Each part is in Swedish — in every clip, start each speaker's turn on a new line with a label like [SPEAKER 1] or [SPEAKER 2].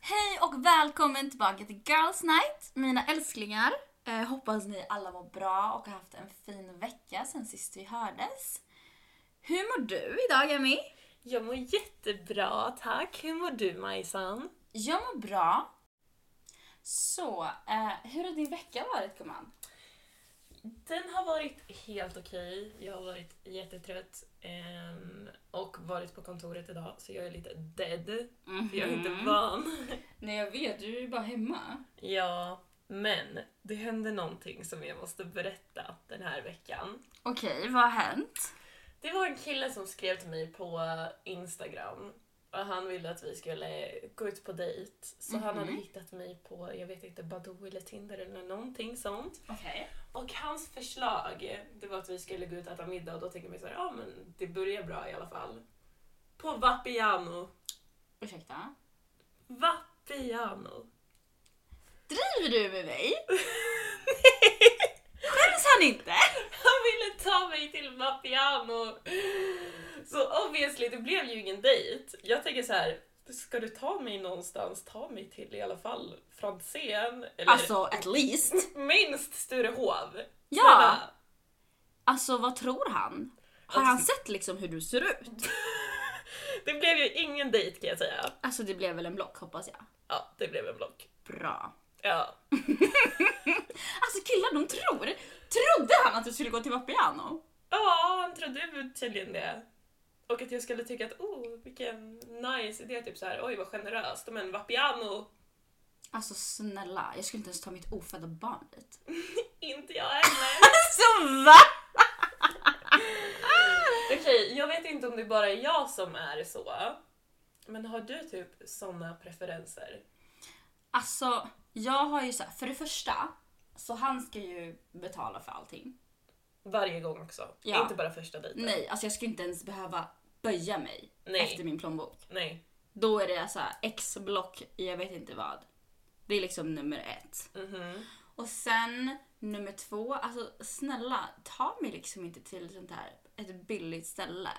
[SPEAKER 1] Hej och välkommen tillbaka till Girls Night, mina älsklingar. Eh, hoppas ni alla var bra och har haft en fin vecka sen sist vi hördes. Hur mår du idag, Emmy?
[SPEAKER 2] Jag mår jättebra, tack. Hur mår du Majsan?
[SPEAKER 1] Jag mår bra. Så, eh, hur har din vecka varit, gumman?
[SPEAKER 2] Den har varit helt okej. Jag har varit jättetrött ehm, och varit på kontoret idag så jag är lite dead.
[SPEAKER 1] Mhm.
[SPEAKER 2] För jag är inte van.
[SPEAKER 1] Nej, jag vet. Du är ju bara hemma.
[SPEAKER 2] Ja, men det hände någonting som jag måste berätta den här veckan.
[SPEAKER 1] Okej, vad har hänt?
[SPEAKER 2] Det var en kille som skrev till mig på Instagram och han ville att vi skulle gå ut på dejt. Så han hade hittat mig på, jag vet inte, Badoo eller Tinder eller någonting sånt.
[SPEAKER 1] Okej.
[SPEAKER 2] Och hans förslag, det var att vi skulle gå ut och äta middag och då tänker man så här, ja men det börjar bra i alla fall. På Vapiano.
[SPEAKER 1] Ursäkta?
[SPEAKER 2] Vapiano.
[SPEAKER 1] Driver du med mig? Skäms han inte?
[SPEAKER 2] Han ville ta mig till Vapiano. Så obviously, det blev ju ingen dejt. Jag tänker så här, ska du ta mig någonstans, ta mig till i alla fall Franzén. Eller
[SPEAKER 1] Alltså, at least.
[SPEAKER 2] minst Sturehov.
[SPEAKER 1] Ja.
[SPEAKER 2] Snälla.
[SPEAKER 1] Alltså vad tror han? Har han sett liksom hur du ser ut?
[SPEAKER 2] Det blev ju ingen dejt kan jag säga.
[SPEAKER 1] Alltså det blev väl en block hoppas jag.
[SPEAKER 2] Ja, det blev en block.
[SPEAKER 1] Bra.
[SPEAKER 2] Ja.
[SPEAKER 1] Alltså killar de tror! Trodde han att du skulle gå till Vapiano?
[SPEAKER 2] Ja, han trodde tydligen det. Och att jag skulle tycka att oh, vilken nice idé, typ så här, oj vad generöst, men Vapiano,
[SPEAKER 1] Alltså snälla, jag skulle inte ens ta mitt ofödda barn dit.
[SPEAKER 2] inte jag heller.
[SPEAKER 1] Alltså va?
[SPEAKER 2] Okej, jag vet inte om det bara är jag som är så, men har du typ såna preferenser?
[SPEAKER 1] Alltså jag har ju så här, för det första så han ska ju betala för allting.
[SPEAKER 2] Varje gång också,
[SPEAKER 1] Ja.
[SPEAKER 2] inte bara första dejten.
[SPEAKER 1] Nej, alltså jag skulle inte ens behöva böja mig
[SPEAKER 2] Nej.
[SPEAKER 1] efter min plånbok.
[SPEAKER 2] Nej.
[SPEAKER 1] Då är det så här x block, jag vet inte vad. Det är liksom nummer ett.
[SPEAKER 2] Mhm.
[SPEAKER 1] Och sen nummer två, alltså snälla ta mig liksom inte till sånt här ett billigt ställe.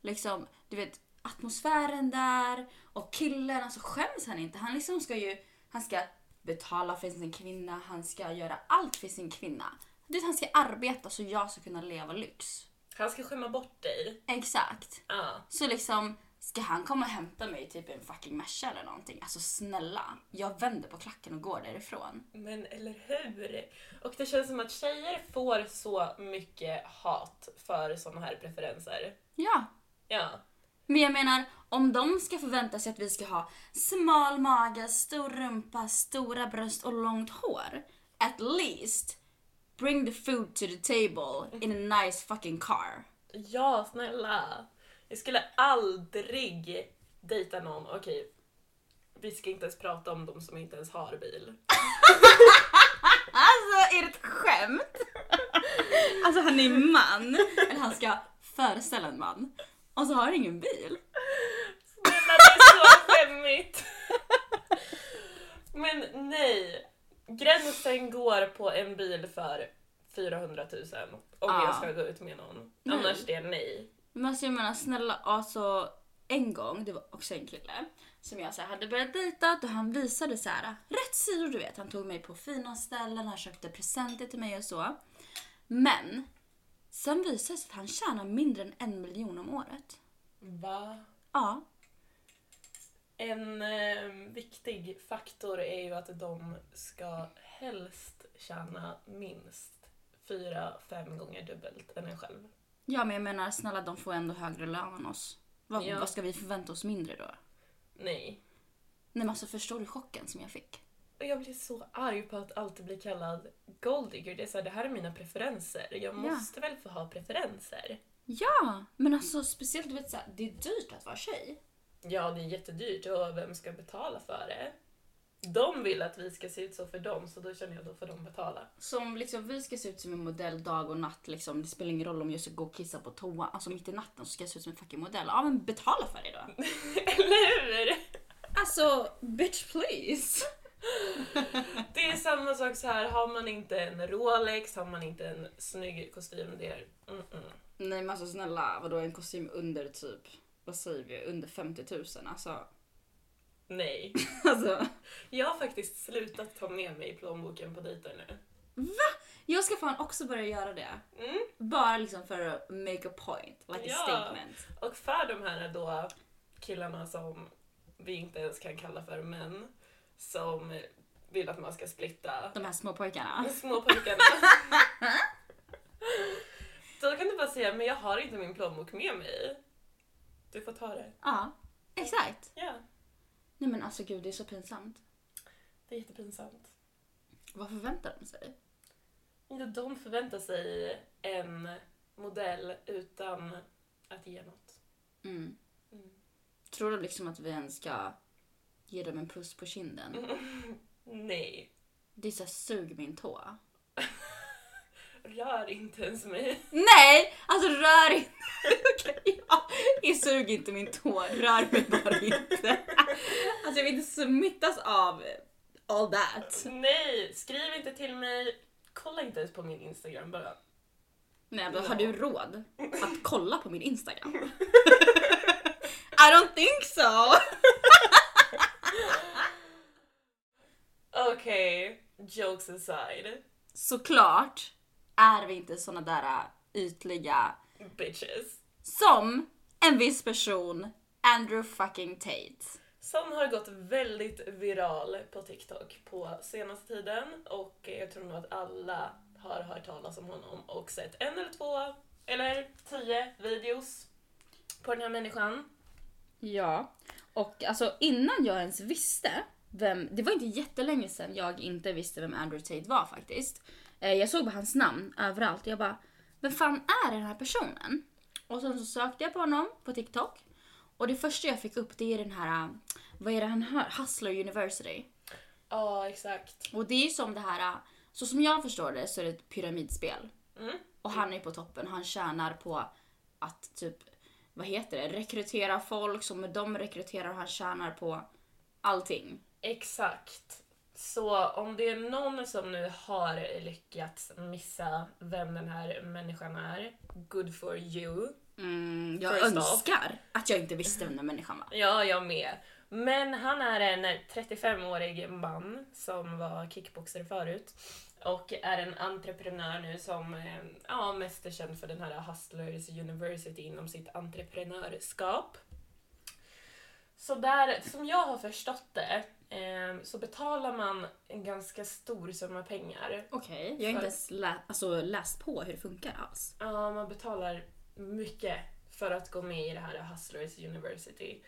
[SPEAKER 1] Liksom, du vet atmosfären där och killen, alltså skäms han inte. Han liksom ska ju, han ska betala för sin kvinna, han ska göra allt för sin kvinna. Du vet, han ska arbeta så jag ska kunna leva lyx.
[SPEAKER 2] Han ska skämma bort dig.
[SPEAKER 1] Exakt.
[SPEAKER 2] Ja.
[SPEAKER 1] Så liksom, ska han komma och hämta mig i typ en fucking Merca eller någonting? Alltså snälla, jag vänder på klacken och går därifrån.
[SPEAKER 2] Men eller hur? Och det känns som att tjejer får så mycket hat för såna här preferenser.
[SPEAKER 1] Ja,
[SPEAKER 2] Ja.
[SPEAKER 1] Men jag menar, om de ska förvänta sig att vi ska ha smal mage, stor rumpa, stora bröst och långt hår. At least bring the food to the table in a nice fucking car.
[SPEAKER 2] Ja, snälla. Jag skulle aldrig dejta någon. Okej, vi ska inte ens prata om de som inte ens har bil.
[SPEAKER 1] Alltså, är det ett skämt? Alltså han är man, eller han ska föreställa en man. Och så har han ingen bil.
[SPEAKER 2] Snälla, det är så skämmigt. Men nej. Gränsen går på en bil för 400 000 om
[SPEAKER 1] Ja.
[SPEAKER 2] jag ska gå ut med någon.
[SPEAKER 1] Nej.
[SPEAKER 2] Annars det är nej.
[SPEAKER 1] Men alltså jag menar snälla, alltså en gång, det var också en kille som jag så här, hade börjat dejta och han visade så här rätt sidor du vet. Han tog mig på fina ställen, han köpte presenter till mig och så. Men sen visade det sig att han tjänar mindre än en miljon om året.
[SPEAKER 2] Va?
[SPEAKER 1] Ja,
[SPEAKER 2] En eh, viktig faktor är ju att de ska helst tjäna minst fyra, fem gånger dubbelt än en själv.
[SPEAKER 1] ja men jag menar snälla de får ändå högre lön än oss. Vad,
[SPEAKER 2] Ja.
[SPEAKER 1] vad ska vi förvänta oss mindre då?
[SPEAKER 2] Nej.
[SPEAKER 1] Nej men alltså förstår du chocken som jag fick?
[SPEAKER 2] Och jag blir så arg på att alltid bli kallad golddigger. Det är så här, det här är mina preferenser. Jag måste väl få ha preferenser?
[SPEAKER 1] Ja, men alltså speciellt du vet så här, det är dyrt att vara tjej.
[SPEAKER 2] Ja, det är jättedyrt och vem ska betala för det? De vill att vi ska se ut så för dem, så då känner jag då får de betala.
[SPEAKER 1] Som liksom, vi ska se ut som en modell dag och natt. Liksom. Det spelar ingen roll om jag ska gå och kissa på toa. Alltså mitt i natten så ska jag se ut som en fucking modell. Ja men betala för det då.
[SPEAKER 2] Eller hur?
[SPEAKER 1] Alltså bitch please.
[SPEAKER 2] Det är samma sak så här, har man inte en Rolex, har man inte en snygg kostym, det är... Mm -mm.
[SPEAKER 1] Nej men alltså snälla vadå en kostym under typ, vad säger vi, under 50 000. Alltså
[SPEAKER 2] Nej.
[SPEAKER 1] Alltså,
[SPEAKER 2] Jag har faktiskt slutat ta med mig plånboken på dejter nu.
[SPEAKER 1] jag ska fan också börja göra det.
[SPEAKER 2] Mm.
[SPEAKER 1] Bara liksom för att make a point, like
[SPEAKER 2] Ja.
[SPEAKER 1] a statement.
[SPEAKER 2] Och för de här då killarna som vi inte ens kan kalla för män, som vill att man ska splitta
[SPEAKER 1] De här små pojkarna.
[SPEAKER 2] de små pojkarna. Då kan du bara säga, men jag har inte min plånbok med mig. Du får ta det.
[SPEAKER 1] Ja, exakt.
[SPEAKER 2] Ja,
[SPEAKER 1] Nej men alltså gud, det är så pinsamt.
[SPEAKER 2] det är jättepinsamt.
[SPEAKER 1] Vad förväntar de sig?
[SPEAKER 2] Inte de förväntar sig en modell utan att ge något.
[SPEAKER 1] Mm.
[SPEAKER 2] Mm.
[SPEAKER 1] Tror de liksom att vi ens ska ge dem en puss på kinden?
[SPEAKER 2] Nej,
[SPEAKER 1] Det är såhär, sug min tå.
[SPEAKER 2] rör inte ens mig.
[SPEAKER 1] Nej! Alltså rör inte! Okej, ja. Jag sug inte min tå, rör mig bara inte. Alltså jag vill inte smittas av all that.
[SPEAKER 2] Nej, skriv inte till mig. Kolla inte ens på min Instagram bara.
[SPEAKER 1] Nej men har
[SPEAKER 2] Ja.
[SPEAKER 1] du råd att kolla på min Instagram? I don't think so!
[SPEAKER 2] Okej, jokes aside.
[SPEAKER 1] Såklart är vi inte såna där äh, ytliga
[SPEAKER 2] Bitches.
[SPEAKER 1] som en viss person, Andrew fucking Tate.
[SPEAKER 2] Som har gått väldigt viral på TikTok på senaste tiden och jag tror nog att alla har hört talas om honom och sett en eller två eller tio videos på den här människan.
[SPEAKER 1] Ja, och alltså innan jag ens visste vem, det var inte jättelänge sedan jag inte visste vem Andrew Tate var faktiskt. Eh, Jag såg bara hans namn överallt och jag bara, vem fan är den här personen? Och sen så sökte jag på honom på TikTok och det första jag fick upp det är den här, eh, vad är det han hör? Hustler University.
[SPEAKER 2] Ja, exakt.
[SPEAKER 1] Och det är ju som det här, eh, så som jag förstår det så är det ett pyramidspel.
[SPEAKER 2] Mm.
[SPEAKER 1] Och han är på toppen. Han tjänar på att typ, vad heter det, rekrytera folk som med dem rekryterar han tjänar på allting.
[SPEAKER 2] Exakt. Så om det är någon som nu har lyckats missa vem den här människan är, good for you.
[SPEAKER 1] Mm, jag
[SPEAKER 2] First off.
[SPEAKER 1] önskar att jag inte visste vem den människan var.
[SPEAKER 2] Ja, jag med. Men han är en 35-årig man som var kickboxare förut och är en entreprenör nu som eh, ja, mest är känd för den här Hustlers University inom sitt entreprenörskap. Så där, som jag har förstått det, eh, så betalar man en ganska stor summa pengar
[SPEAKER 1] Okej, jag har inte ens lä- alltså, läst på hur det funkar alls.
[SPEAKER 2] Ja, man betalar mycket för att gå med i det här Hustlers University.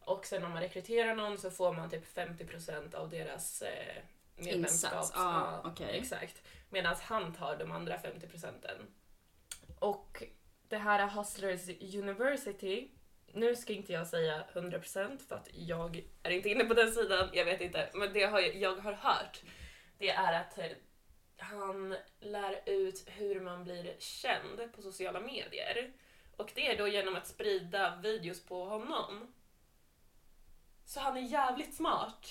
[SPEAKER 2] Och sen om man rekryterar någon så får man typ 50% av deras eh, medlemskap.
[SPEAKER 1] Insats, ja, okej.
[SPEAKER 2] Exakt. Medan han tar de andra 50%. Och det här Hustlers University, nu ska inte jag säga 100% för att jag är inte inne på den sidan, jag vet inte. Men det har, jag- jag har hört, det är att eh, han lär ut hur man blir känd på sociala medier. Och det är då genom att sprida videos på honom. Så han är jävligt smart.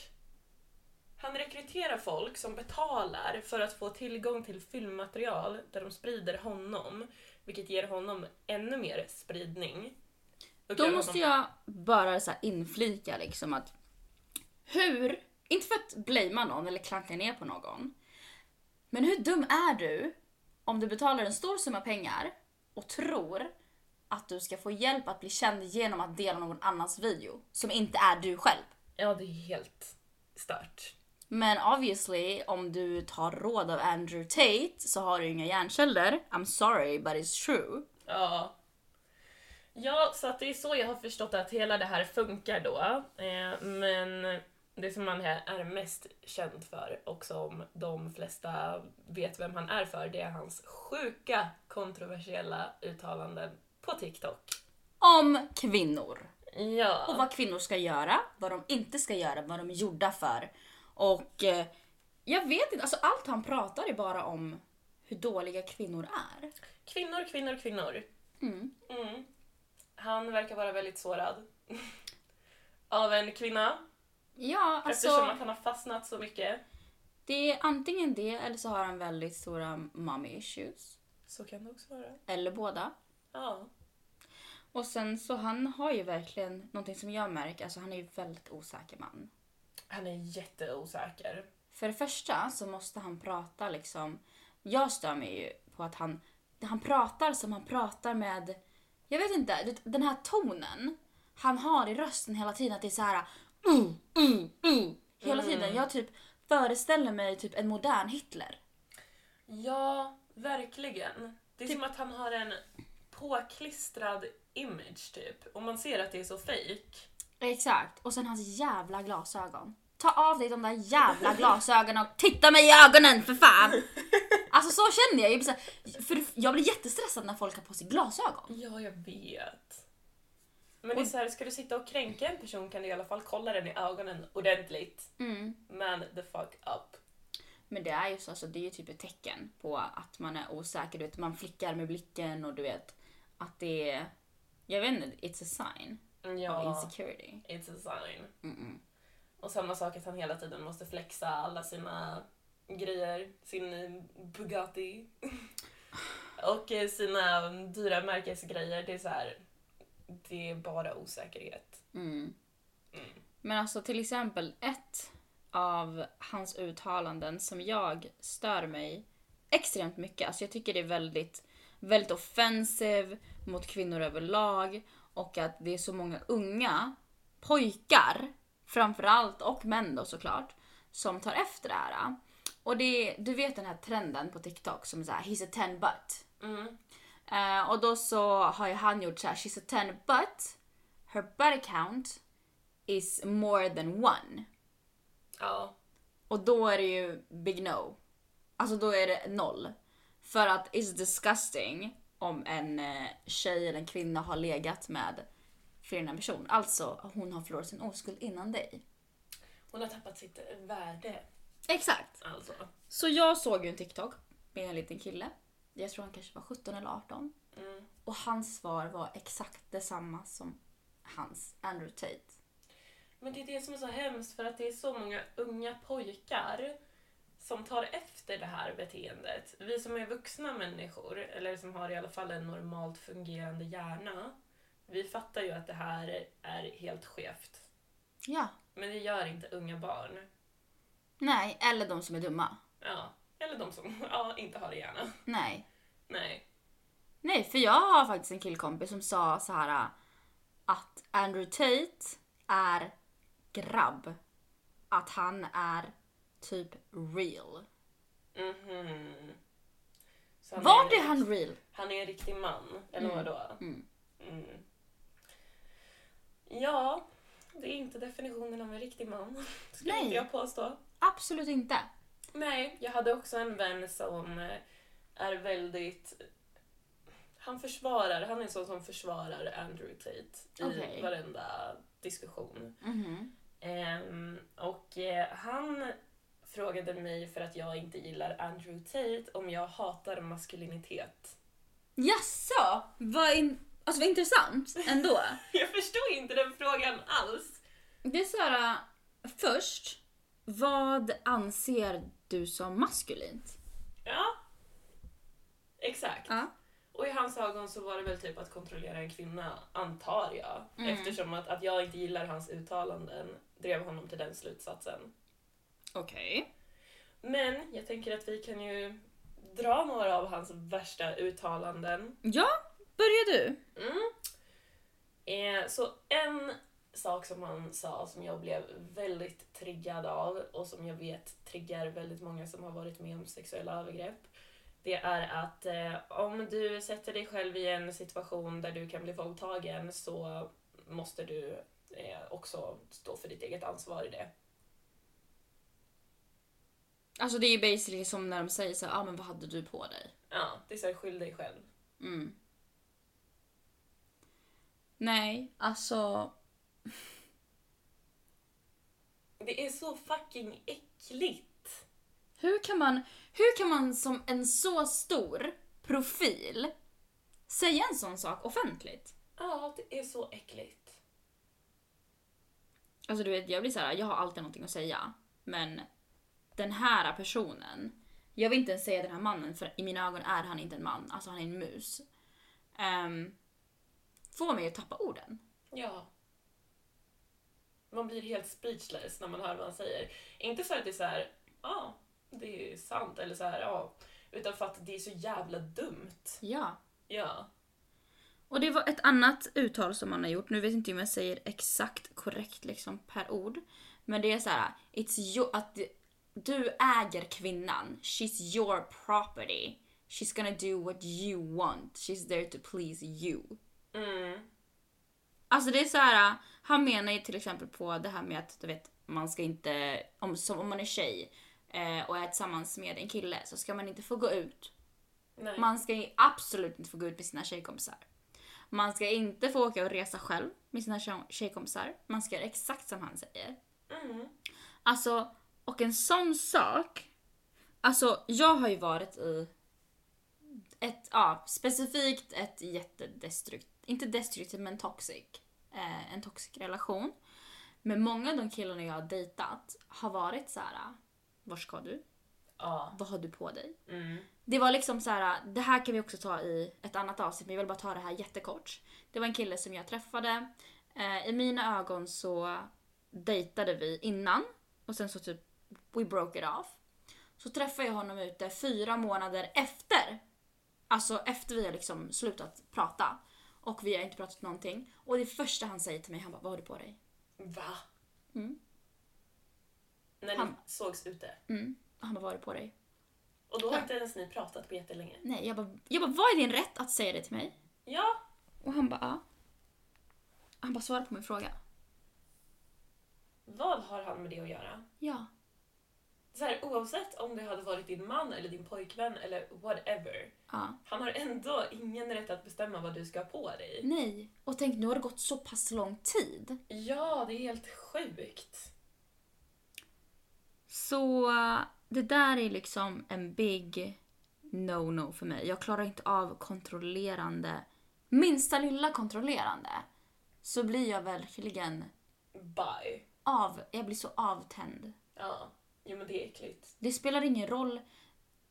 [SPEAKER 2] Han rekryterar folk som betalar för att få tillgång till filmmaterial där de sprider honom, vilket ger honom ännu mer spridning. Och
[SPEAKER 1] Då
[SPEAKER 2] gör
[SPEAKER 1] måste
[SPEAKER 2] honom-
[SPEAKER 1] jag bara så här inflika liksom att hur, inte för att blamea någon eller klanka ner på någon, men hur dum är du om du betalar en stor summa pengar och tror att du ska få hjälp att bli känd genom att dela någon annans video som inte är du själv?
[SPEAKER 2] Ja, det är helt stört.
[SPEAKER 1] Men obviously, om du tar råd av Andrew Tate så har du inga hjärnceller. I'm sorry but it's true.
[SPEAKER 2] Ja. Ja, så att det är så jag har förstått att hela det här funkar då. Eh, Men det som han här är mest känd för och som de flesta vet vem han är för, det är hans sjuka kontroversiella uttalanden på TikTok.
[SPEAKER 1] Om kvinnor.
[SPEAKER 2] Ja.
[SPEAKER 1] och vad kvinnor ska göra, vad de inte ska göra, vad de är gjorda för. Och eh, jag vet inte, alltså allt han pratar är bara om hur dåliga kvinnor är.
[SPEAKER 2] Kvinnor, kvinnor, kvinnor.
[SPEAKER 1] Mm.
[SPEAKER 2] Mm. Han verkar vara väldigt sårad. Av en kvinna.
[SPEAKER 1] Ja,
[SPEAKER 2] Eftersom
[SPEAKER 1] alltså
[SPEAKER 2] att han har fastnat så mycket.
[SPEAKER 1] det är antingen det eller så har han väldigt stora mommy issues.
[SPEAKER 2] Så kan det också vara.
[SPEAKER 1] Eller båda.
[SPEAKER 2] Ja.
[SPEAKER 1] Och sen så han har ju verkligen någonting som jag märker, alltså han är ju väldigt osäker man.
[SPEAKER 2] Han är jätteosäker.
[SPEAKER 1] För det första så måste han prata liksom, jag stör mig ju på att han, han pratar som han pratar med, jag vet inte, det- den här tonen han har i rösten hela tiden att det är så här uh, uh, uh, hela tiden. Jag typ föreställer mig typ en modern Hitler.
[SPEAKER 2] Ja, verkligen. Det är
[SPEAKER 1] Typ-
[SPEAKER 2] som att han har en påklistrad image typ. Och man ser att det är så fejk.
[SPEAKER 1] Exakt. Och sen hans jävla glasögon. Ta av dig de där jävla glasögonen och titta mig i ögonen för fan! Alltså så känner jag ju. så här- För jag blir jättestressad när folk har på sig glasögon.
[SPEAKER 2] Ja, jag vet. Men det är så här, ska du sitta och kränka en person kan du i alla fall kolla den i ögonen ordentligt. Mm. Man the fuck up.
[SPEAKER 1] Men det är ju så, alltså, det är ju typ ett tecken på att man är osäker. Du vet, man flickar med blicken och du vet att det är... Jag vet inte, it's a sign of
[SPEAKER 2] Ja,
[SPEAKER 1] insecurity.
[SPEAKER 2] it's a sign. Och samma sak att han hela tiden måste flexa alla sina grejer. Sin eh, Bugatti. Och eh, sina dyra märkesgrejer. Det är så här, det är bara osäkerhet.
[SPEAKER 1] Men alltså till exempel ett av hans uttalanden som jag stör mig extremt mycket. Alltså jag tycker det är väldigt, väldigt offensive mot kvinnor överlag och att det är så många unga pojkar framförallt och män då såklart som tar efter det här. Och det, du vet den här trenden på TikTok som är såhär “He's a ten butt”. Eh, och då så har ju han gjort såhär “She's a ten butt, her body count is more than one.
[SPEAKER 2] Ja.
[SPEAKER 1] Och då är det ju big no. Alltså då är det noll. För att it's disgusting om en eh, tjej eller en kvinna har legat med fler än en person. Alltså, hon har förlorat sin oskuld innan dig.
[SPEAKER 2] Hon har tappat sitt värde.
[SPEAKER 1] Exakt.
[SPEAKER 2] Alltså.
[SPEAKER 1] Så jag såg ju en TikTok med en liten kille. Jag tror han kanske var 17 eller 18.
[SPEAKER 2] Mm.
[SPEAKER 1] Och hans svar var exakt detsamma som hans Andrew Tate.
[SPEAKER 2] Men det är det som är så hemskt för att det är så många unga pojkar som tar efter det här beteendet. Vi som är vuxna människor, eller som har i alla fall en normalt fungerande hjärna, vi fattar ju att det här är helt skevt.
[SPEAKER 1] Ja.
[SPEAKER 2] Men det gör inte unga barn.
[SPEAKER 1] Nej, eller de som är dumma.
[SPEAKER 2] Ja. Eller de som ja, inte har det gärna.
[SPEAKER 1] Nej.
[SPEAKER 2] Nej.
[SPEAKER 1] Nej, för jag har faktiskt en killkompis som sa så här äh, att Andrew Tate är grabb. Att han är typ real.
[SPEAKER 2] Mhm. Så
[SPEAKER 1] Var
[SPEAKER 2] är-
[SPEAKER 1] det han real?
[SPEAKER 2] Han är en riktig man, eller
[SPEAKER 1] Mm.
[SPEAKER 2] vadå?
[SPEAKER 1] Mm.
[SPEAKER 2] Mm. Ja, det är inte definitionen av en riktig man, skulle
[SPEAKER 1] Nej.
[SPEAKER 2] inte jag påstå.
[SPEAKER 1] Absolut inte.
[SPEAKER 2] Nej, jag hade också en vän som eh, är väldigt... Han försvarar, han är en sån som försvarar Andrew Tate i
[SPEAKER 1] Okej.
[SPEAKER 2] varenda diskussion.
[SPEAKER 1] Mhm.
[SPEAKER 2] Ehm, och eh, han frågade mig för att jag inte gillar Andrew Tate om jag hatar maskulinitet.
[SPEAKER 1] Jaså? Vad, in- alltså, vad intressant ändå.
[SPEAKER 2] Jag förstod inte den frågan alls.
[SPEAKER 1] Det är så här, äh, först, vad anser du som maskulint?
[SPEAKER 2] Ja. Exakt.
[SPEAKER 1] Ja.
[SPEAKER 2] Och i hans ögon så var det väl typ att kontrollera en kvinna, antar jag.
[SPEAKER 1] Mm.
[SPEAKER 2] Eftersom att, att jag inte gillar hans uttalanden drev honom till den slutsatsen.
[SPEAKER 1] Okej.
[SPEAKER 2] Men jag tänker att vi kan ju dra några av hans värsta uttalanden.
[SPEAKER 1] Ja, börjar du.
[SPEAKER 2] Mm. Eh, så en sak som han sa som jag blev väldigt triggad av och som jag vet triggar väldigt många som har varit med om sexuella övergrepp. Det är att eh, om du sätter dig själv i en situation där du kan bli våldtagen så måste du eh, också stå för ditt eget ansvar i det.
[SPEAKER 1] Alltså det är ju basically som när de säger så här, ah, men vad hade du på dig?
[SPEAKER 2] Ja, det är så här, skyll dig själv.
[SPEAKER 1] Mm. Nej, alltså.
[SPEAKER 2] Det är så fucking äckligt!
[SPEAKER 1] Hur kan man, hur kan man som en så stor profil säga en sån sak offentligt?
[SPEAKER 2] Ja, det är så äckligt.
[SPEAKER 1] Alltså du vet, jag blir så här, jag har alltid någonting att säga. Men den här personen, jag vill inte ens säga den här mannen för i mina ögon är han inte en man. Alltså han är en mus. Ehm, får mig att tappa orden.
[SPEAKER 2] Ja. Man blir helt speechless när man hör vad han säger. Inte för att det är så här, ja, ah, det är sant, eller så här, ja. utan för att det är så jävla dumt.
[SPEAKER 1] Ja.
[SPEAKER 2] Ja.
[SPEAKER 1] Och det var ett annat uttal som han har gjort. Nu vet inte om jag säger exakt korrekt liksom per ord. Men det är så här, it's your, att du äger kvinnan. She's your property. She's gonna do what you want. She's there to please you.
[SPEAKER 2] Mm.
[SPEAKER 1] Alltså det är så här, han menar ju till exempel på det här med att du vet, man ska inte, om, som om man är tjej eh, och är tillsammans med en kille så ska man inte få gå ut.
[SPEAKER 2] Nej.
[SPEAKER 1] Man ska ju absolut inte få gå ut med sina tjejkompisar. Man ska inte få åka och resa själv med sina tjej- tjejkompisar. Man ska göra exakt som han säger.
[SPEAKER 2] Mm.
[SPEAKER 1] Alltså, och en sån sak. Alltså, jag har ju varit i ett, ja, specifikt ett jättedestruktivt, inte destruktivt men toxic, eh, en toxic relation. Men många av de killarna jag har dejtat har varit så här. Var ska du?
[SPEAKER 2] Ja.
[SPEAKER 1] Vad har du på dig?
[SPEAKER 2] Mm.
[SPEAKER 1] Det var liksom så här, det här kan vi också ta i ett annat avsnitt, men jag vill bara ta det här jättekort. Det var en kille som jag träffade. Eh, I mina ögon så dejtade vi innan och sen så typ we broke it off. Så träffade jag honom ute fyra månader efter. Alltså efter vi har liksom slutat prata. Och vi har inte pratat någonting. Och det första han säger till mig, han bara “Vad har du på dig?”
[SPEAKER 2] Va?
[SPEAKER 1] Mm.
[SPEAKER 2] När ni
[SPEAKER 1] Han-
[SPEAKER 2] sågs ute.
[SPEAKER 1] mm. Och han bara “Vad har du på dig?”
[SPEAKER 2] Och då har
[SPEAKER 1] Ja.
[SPEAKER 2] inte ens ni pratat på jättelänge.
[SPEAKER 1] Nej, jag bara, jag bara “Vad är din rätt att säga det till mig?”
[SPEAKER 2] Ja.
[SPEAKER 1] Och han bara ja. Han bara svarar på min fråga.
[SPEAKER 2] Vad har han med det att göra?
[SPEAKER 1] Ja.
[SPEAKER 2] Så här, oavsett om det hade varit din man eller din pojkvän eller whatever.
[SPEAKER 1] ja.
[SPEAKER 2] Han har ändå ingen rätt att bestämma vad du ska ha på dig.
[SPEAKER 1] Nej. Och tänk nu har det gått så pass lång tid.
[SPEAKER 2] Ja, det är helt sjukt.
[SPEAKER 1] Så eh, det där är liksom en big no-no för mig. Jag klarar inte av kontrollerande, minsta lilla kontrollerande. Så blir jag verkligen
[SPEAKER 2] Bye.
[SPEAKER 1] av, jag blir så avtänd.
[SPEAKER 2] Ja. Jo men det är äckligt.
[SPEAKER 1] Det spelar ingen roll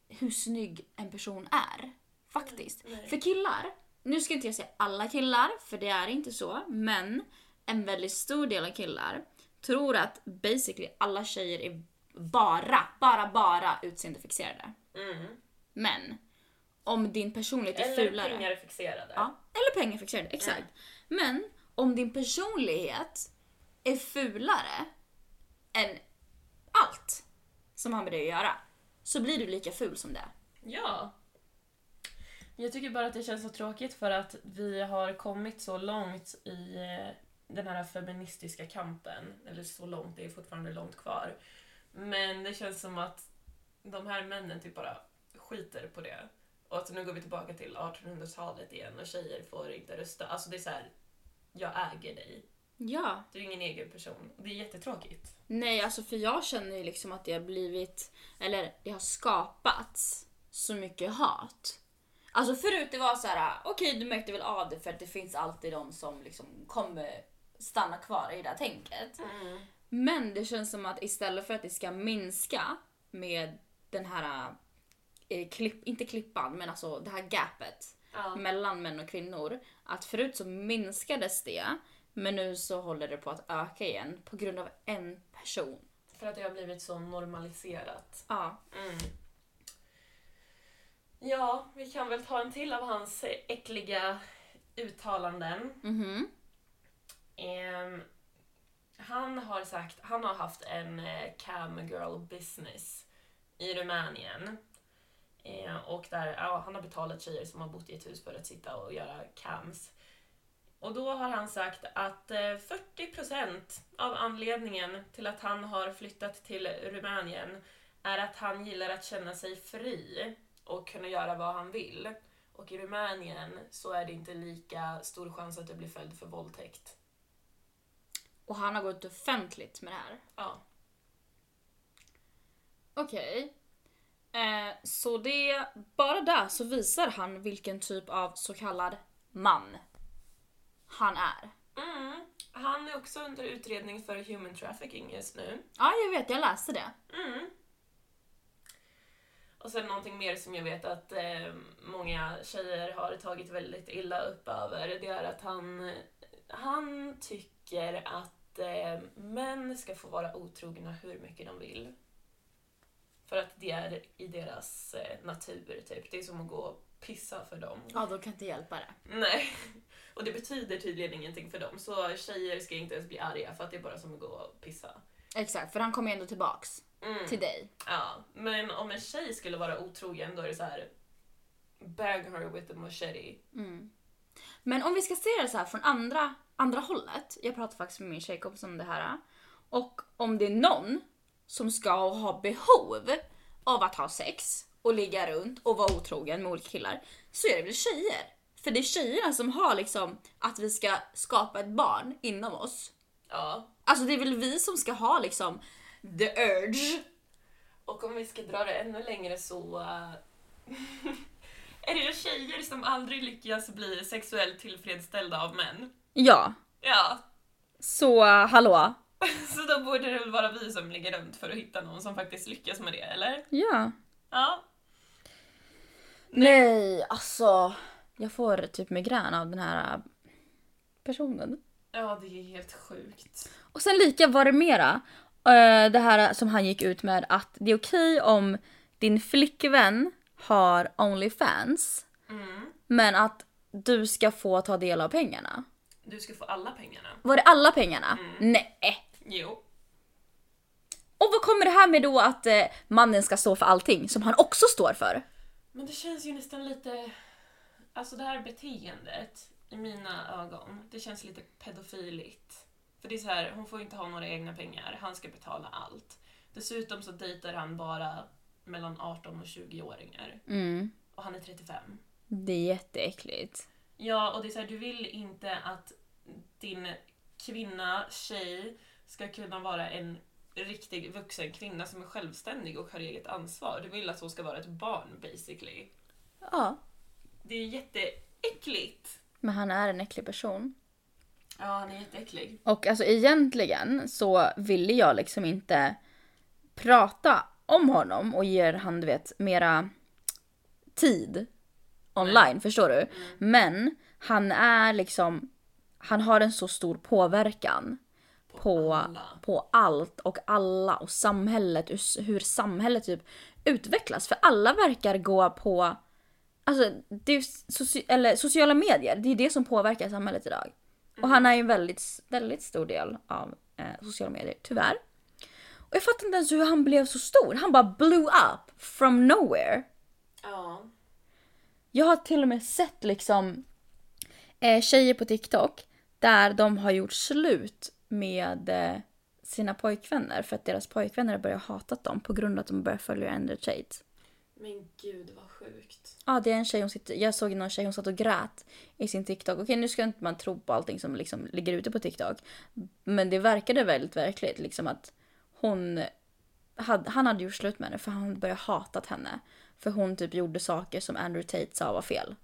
[SPEAKER 1] hur snygg en person är. Faktiskt.
[SPEAKER 2] Mm, Nej.
[SPEAKER 1] För killar, nu ska inte jag säga alla killar, för det är inte så, men en väldigt stor del av killar tror att basically alla tjejer är bara, bara, bara utseendefixerade.
[SPEAKER 2] Mm.
[SPEAKER 1] Men om din personlighet är
[SPEAKER 2] Eller
[SPEAKER 1] fulare...
[SPEAKER 2] pengar är fixerade.
[SPEAKER 1] Ja, eller pengafixerade, exakt. Men om din personlighet är fulare än allt som har med det att göra, så blir du lika ful som det.
[SPEAKER 2] Ja. Jag tycker bara att det känns så tråkigt för att vi har kommit så långt i eh, den här feministiska kampen. Eller så långt, det är fortfarande långt kvar. Men det känns som att de här männen typ bara skiter på det. Och att nu går vi tillbaka till 1800-talet igen och tjejer får inte rösta. Alltså det är så här, jag äger dig.
[SPEAKER 1] Ja.
[SPEAKER 2] Du är ingen egen person. Det är jättetråkigt.
[SPEAKER 1] Nej, alltså för jag känner ju liksom att det har blivit, eller det har skapats så mycket hat. Alltså förut det var så här, okej du märkte väl av det för att det finns alltid de som liksom kommer stanna kvar i det här tänket. Men det känns som att istället för att det ska minska med den här, eh, klipp, inte klippan, men alltså det här gapet
[SPEAKER 2] Ja.
[SPEAKER 1] mellan män och kvinnor. Att förut så minskades det, men nu så håller det på att öka igen på grund av en person.
[SPEAKER 2] För att det har blivit så normaliserat.
[SPEAKER 1] Ja.
[SPEAKER 2] Mm. Ja, vi kan väl ta en till av hans äckliga uttalanden.
[SPEAKER 1] Mhm.
[SPEAKER 2] Ehm, han har sagt, han har haft en eh, cam girl business i Rumänien. Ehm, och där, ja, han har betalat tjejer som har bott i ett hus för att sitta och göra cams. Och då har han sagt att eh, 40% av anledningen till att han har flyttat till Rumänien är att han gillar att känna sig fri och kunna göra vad han vill. Och i Rumänien så är det inte lika stor chans att du blir fälld för våldtäkt.
[SPEAKER 1] Och han har gått offentligt med det här.
[SPEAKER 2] Ja.
[SPEAKER 1] Okej. Eh, så det, bara där så visar han vilken typ av så kallad man han är.
[SPEAKER 2] Mm. Han är också under utredning för human trafficking just nu.
[SPEAKER 1] Ja, jag vet, jag läste det.
[SPEAKER 2] Mm. Och sen någonting mer som jag vet att eh, många tjejer har tagit väldigt illa upp över, det är att han, han tycker att eh, män ska få vara otrogna hur mycket de vill. För att det är i deras eh, natur, typ. Det är som att gå och pissa för dem.
[SPEAKER 1] Ja, de kan inte hjälpa det.
[SPEAKER 2] Nej. Och det betyder tydligen ingenting för dem, så tjejer ska inte ens bli arga för att det är bara som att gå och pissa.
[SPEAKER 1] Exakt, för han kommer ju ändå tillbaks
[SPEAKER 2] Mm.
[SPEAKER 1] till dig.
[SPEAKER 2] Ja, men om en tjej skulle vara otrogen då är det så här bang her with the machete.
[SPEAKER 1] Mm. Men om vi ska se det så här från andra, andra hållet. Jag pratade faktiskt med min tjejkompis om det här. Och om det är någon som ska ha behov av att ha sex och ligga runt och vara otrogen med olika killar så är det väl tjejer. För det är tjejerna som har liksom att vi ska skapa ett barn inom oss.
[SPEAKER 2] Ja.
[SPEAKER 1] Alltså det är väl vi som ska ha liksom the urge.
[SPEAKER 2] Och om vi ska dra det ännu längre så eh, är det ju tjejer som aldrig lyckas bli sexuellt tillfredsställda av män.
[SPEAKER 1] Ja,
[SPEAKER 2] Ja,
[SPEAKER 1] så uh, hallå.
[SPEAKER 2] så då borde det väl vara vi som ligger runt för att hitta någon som faktiskt lyckas med det, eller?
[SPEAKER 1] Ja.
[SPEAKER 2] Ja.
[SPEAKER 1] Nej, alltså. Jag får typ migrän av den här äh, personen.
[SPEAKER 2] Ja, det är helt sjukt.
[SPEAKER 1] Och sen lika var det mera. eh, Det här som han gick ut med att det är okej om din flickvän har Onlyfans.
[SPEAKER 2] Mm.
[SPEAKER 1] Men att du ska få ta del av pengarna.
[SPEAKER 2] Du ska få alla pengarna.
[SPEAKER 1] Var det alla pengarna? Nej.
[SPEAKER 2] Jo.
[SPEAKER 1] Och vad kommer det här med då att eh, mannen ska stå för allting som han också står för?
[SPEAKER 2] Men det känns ju nästan lite... Alltså det här beteendet, i mina ögon, det känns lite pedofiligt. För det är så här, hon får inte ha några egna pengar, han ska betala allt. Dessutom så dejtar han bara mellan 18 och 20-åringar.
[SPEAKER 1] Mm.
[SPEAKER 2] Och han är 35.
[SPEAKER 1] Det är jätteäckligt.
[SPEAKER 2] Ja, och det är så här, du vill inte att din kvinna, tjej, ska kunna vara en riktig vuxen kvinna som är självständig och har eget ansvar. Du vill att hon ska vara ett barn basically.
[SPEAKER 1] Ja.
[SPEAKER 2] Det är jätteäckligt.
[SPEAKER 1] Men han är en äcklig person.
[SPEAKER 2] Ja, han är jätteäcklig.
[SPEAKER 1] Och alltså egentligen så ville jag liksom inte prata om honom och ge han du vet mera tid online, förstår du? Men han är liksom, han har en så stor påverkan på,
[SPEAKER 2] alla.
[SPEAKER 1] på allt och alla och samhället, hur- hur samhället typ utvecklas. För alla verkar gå på, alltså det är ju soci- eller, sociala medier, det är det som påverkar samhället idag. Och han är ju en väldigt, väldigt stor del av eh, sociala medier, tyvärr. Och jag fattar inte ens hur han blev så stor. Han bara blew up from nowhere.
[SPEAKER 2] Ja.
[SPEAKER 1] Jag har till och med sett liksom eh, tjejer på TikTok där de har gjort slut med eh, sina pojkvänner för att deras pojkvänner har börjat hata dem på grund av att de börjar följa Andrew Tate.
[SPEAKER 2] Men gud vad sjukt.
[SPEAKER 1] Ja, det är en tjej, hon sitter, jag såg någon tjej, hon satt och grät i sin TikTok. Okej, nu ska inte man tro på allting som liksom ligger ute på TikTok. Men det verkade väldigt verkligt, liksom att hon... Hade, han hade gjort slut med henne för han började hatat henne. För hon typ gjorde saker som Andrew Tate sa var fel.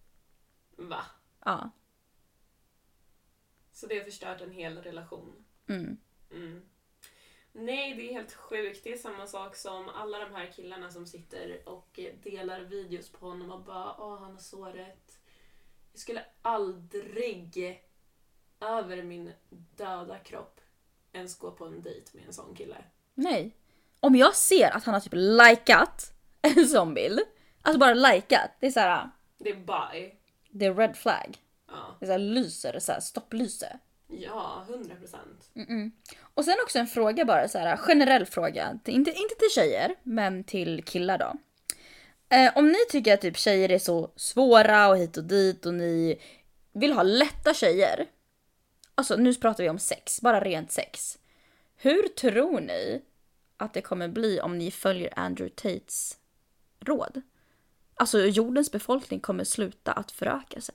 [SPEAKER 2] Va?
[SPEAKER 1] Ja.
[SPEAKER 2] Så det har förstört en hel relation?
[SPEAKER 1] Mm.
[SPEAKER 2] Mm. Nej, det är helt sjukt. Det är samma sak som alla de här killarna som sitter och delar videos på honom och bara åh, han har så rätt. Jag skulle aldrig över min döda kropp ens gå på en dejt med en sån kille.
[SPEAKER 1] Nej. Om jag ser att han har typ likat en sån bild. Alltså bara likat. Det är så här. uh,
[SPEAKER 2] Det är bye.
[SPEAKER 1] Det är red flag.
[SPEAKER 2] Ja,
[SPEAKER 1] Det är så här, lyser, så här, stopplyser.
[SPEAKER 2] ja 100 procent.
[SPEAKER 1] Och sen också en fråga bara, så här, generell fråga. Till- Inte, inte till tjejer, men till killar då. Eh, om ni tycker att typ tjejer är så svåra och hit och dit och ni vill ha lätta tjejer. Alltså nu pratar vi om sex, bara rent sex. Hur tror ni att det kommer bli om ni följer Andrew Tates råd? Alltså jordens befolkning kommer sluta att föröka sig.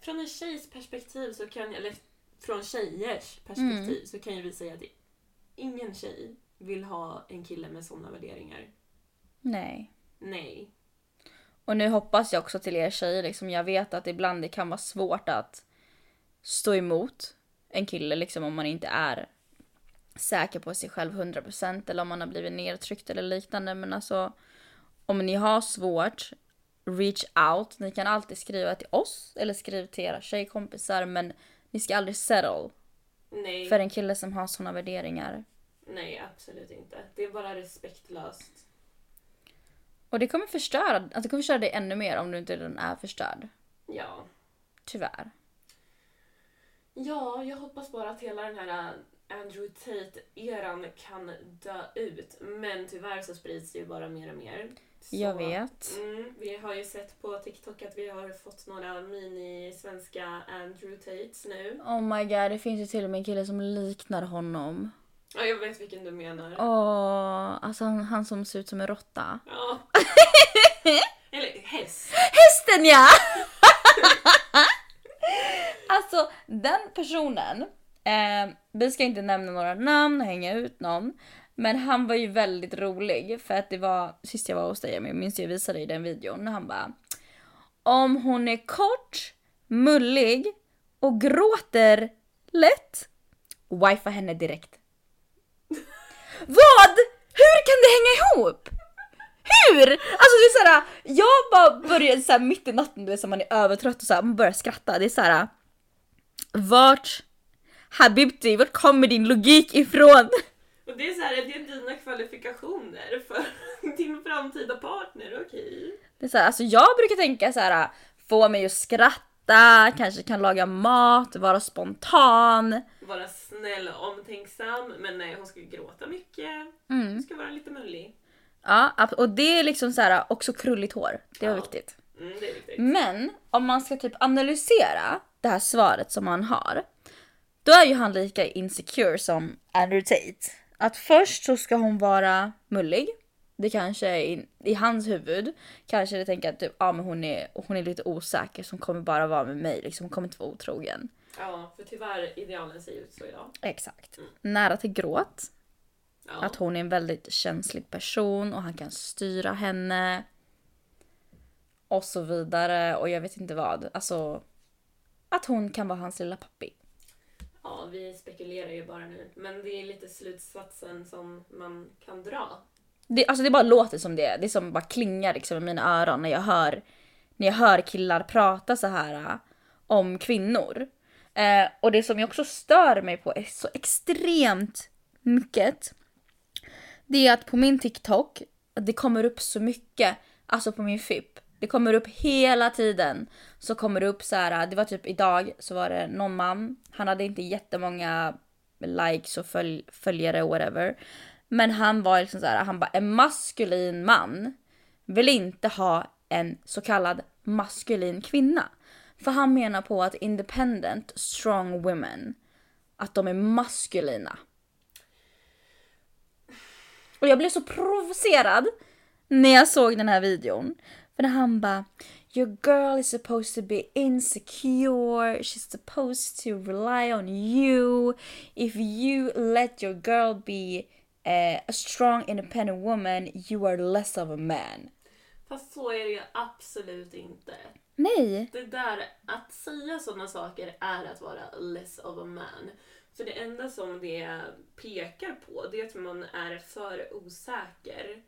[SPEAKER 2] Från en tjejs perspektiv så kan jag, eller från tjejers perspektiv
[SPEAKER 1] Mm.
[SPEAKER 2] så kan ju vi säga att ingen tjej vill ha en kille med sådana värderingar.
[SPEAKER 1] Nej.
[SPEAKER 2] Nej.
[SPEAKER 1] Och nu hoppas jag också till er tjejer, liksom, jag vet att ibland det kan vara svårt att stå emot en kille liksom, om man inte är säker på sig själv 100% eller om man har blivit nedtryckt eller liknande. Men alltså, Om ni har svårt, reach out. Ni kan alltid skriva till oss eller skriv till era tjejkompisar men ni ska aldrig settle
[SPEAKER 2] Nej,
[SPEAKER 1] för en kille som har såna värderingar.
[SPEAKER 2] nej absolut inte. Det är bara respektlöst.
[SPEAKER 1] Och det kommer förstöra, alltså det kommer förstöra dig ännu mer om du inte redan är förstörd.
[SPEAKER 2] Ja.
[SPEAKER 1] Tyvärr.
[SPEAKER 2] Ja, jag hoppas bara att hela den här äh, Andrew Tate-eran kan dö ut. Men tyvärr så sprids det ju bara mer och mer. Så,
[SPEAKER 1] Jag vet.
[SPEAKER 2] Mm, vi har ju sett på TikTok att vi har fått några mini-svenska Andrew Tates nu.
[SPEAKER 1] Oh my god, det finns ju till och med en kille som liknar honom.
[SPEAKER 2] Ja, jag vet vilken du menar.
[SPEAKER 1] Åh, alltså han, han som ser ut som en råtta.
[SPEAKER 2] Ja. Eller häst.
[SPEAKER 1] Hästen ja! alltså den personen, eh, vi ska inte nämna några namn och hänga ut någon. Men han var ju väldigt rolig för att det var sist jag var hos dig, men jag minns jag visade dig den videon när han bara Om hon är kort, mullig och gråter lätt, wifa henne direkt. Vad? Hur kan det hänga ihop? Hur? Alltså det är såhär, jag bara börjar såhär mitt i natten, du vet så man är övertrött och såhär, man börjar skratta. Det är såhär, vart Habibti, vart kommer din logik ifrån?
[SPEAKER 2] Och det är så här, det är dina kvalifikationer för din framtida partner, okej?
[SPEAKER 1] Det är såhär, alltså jag brukar tänka såhär, få mig att skratta, kanske kan laga mat, vara spontan.
[SPEAKER 2] Vara snäll och omtänksam, men nej, hon ska ju gråta mycket. Hon ska vara lite mullig.
[SPEAKER 1] Ja, ab- och det är liksom såhär, också krulligt hår. Det var
[SPEAKER 2] Ja.
[SPEAKER 1] viktigt.
[SPEAKER 2] Mm, det är viktigt.
[SPEAKER 1] Men om man ska typ analysera det här svaret som han har, då är ju han lika insecure som Andrew Tate. Att först så ska hon vara mullig. Det kanske är i, i hans huvud kanske det tänker att typ, ah, men hon, är, hon är lite osäker som kommer bara vara med mig, liksom, hon kommer inte vara otrogen.
[SPEAKER 2] Ja, för tyvärr, idealen ser ut så idag.
[SPEAKER 1] Exakt. Nära till gråt.
[SPEAKER 2] Ja.
[SPEAKER 1] Att hon är en väldigt känslig person och han kan styra henne. Och så vidare och jag vet inte vad. Alltså att hon kan vara hans lilla pappi.
[SPEAKER 2] ja, vi spekulerar ju bara nu. Men det är lite slutsatsen som man kan dra.
[SPEAKER 1] Det, alltså det bara låter som det. Det som bara klingar liksom i mina öron när jag hör, när jag hör killar prata så här äh, om kvinnor. Eh, och det som jag också stör mig på är så extremt mycket. Det är att på min TikTok, det kommer upp så mycket, alltså på min FIP. Det kommer upp hela tiden. Så kommer det upp så här, det var typ idag så var det någon man, han hade inte jättemånga likes och följ, följare och whatever. Men han var liksom så här, han bara en maskulin man vill inte ha en så kallad maskulin kvinna. För han menar på att independent strong women, att de är maskulina. Och jag blev så provocerad när jag såg den här videon. För när han bara “Your girl is supposed to be insecure, she's supposed to rely on you. If you let your girl be eh, a strong independent woman, you are less of a man”.
[SPEAKER 2] Fast så är det ju absolut inte.
[SPEAKER 1] Nej!
[SPEAKER 2] Det där, att säga sådana saker är att vara less of a man. För det enda som det pekar på det är att man är för osäker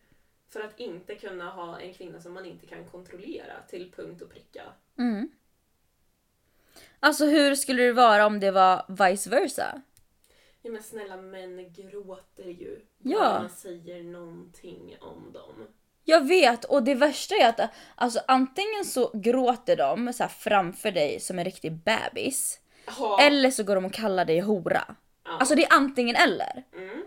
[SPEAKER 2] för att inte kunna ha en kvinna som man inte kan kontrollera till punkt och pricka.
[SPEAKER 1] Mm. Alltså hur skulle det vara om det var vice versa?
[SPEAKER 2] Ja men snälla män gråter ju
[SPEAKER 1] Ja.
[SPEAKER 2] när man säger någonting om dem.
[SPEAKER 1] Jag vet och det värsta är att alltså, antingen så gråter de så här, framför dig som en riktig bebis.
[SPEAKER 2] Ja.
[SPEAKER 1] Eller så går de och kallar dig hora.
[SPEAKER 2] Ja.
[SPEAKER 1] Alltså det är antingen eller.
[SPEAKER 2] Mm.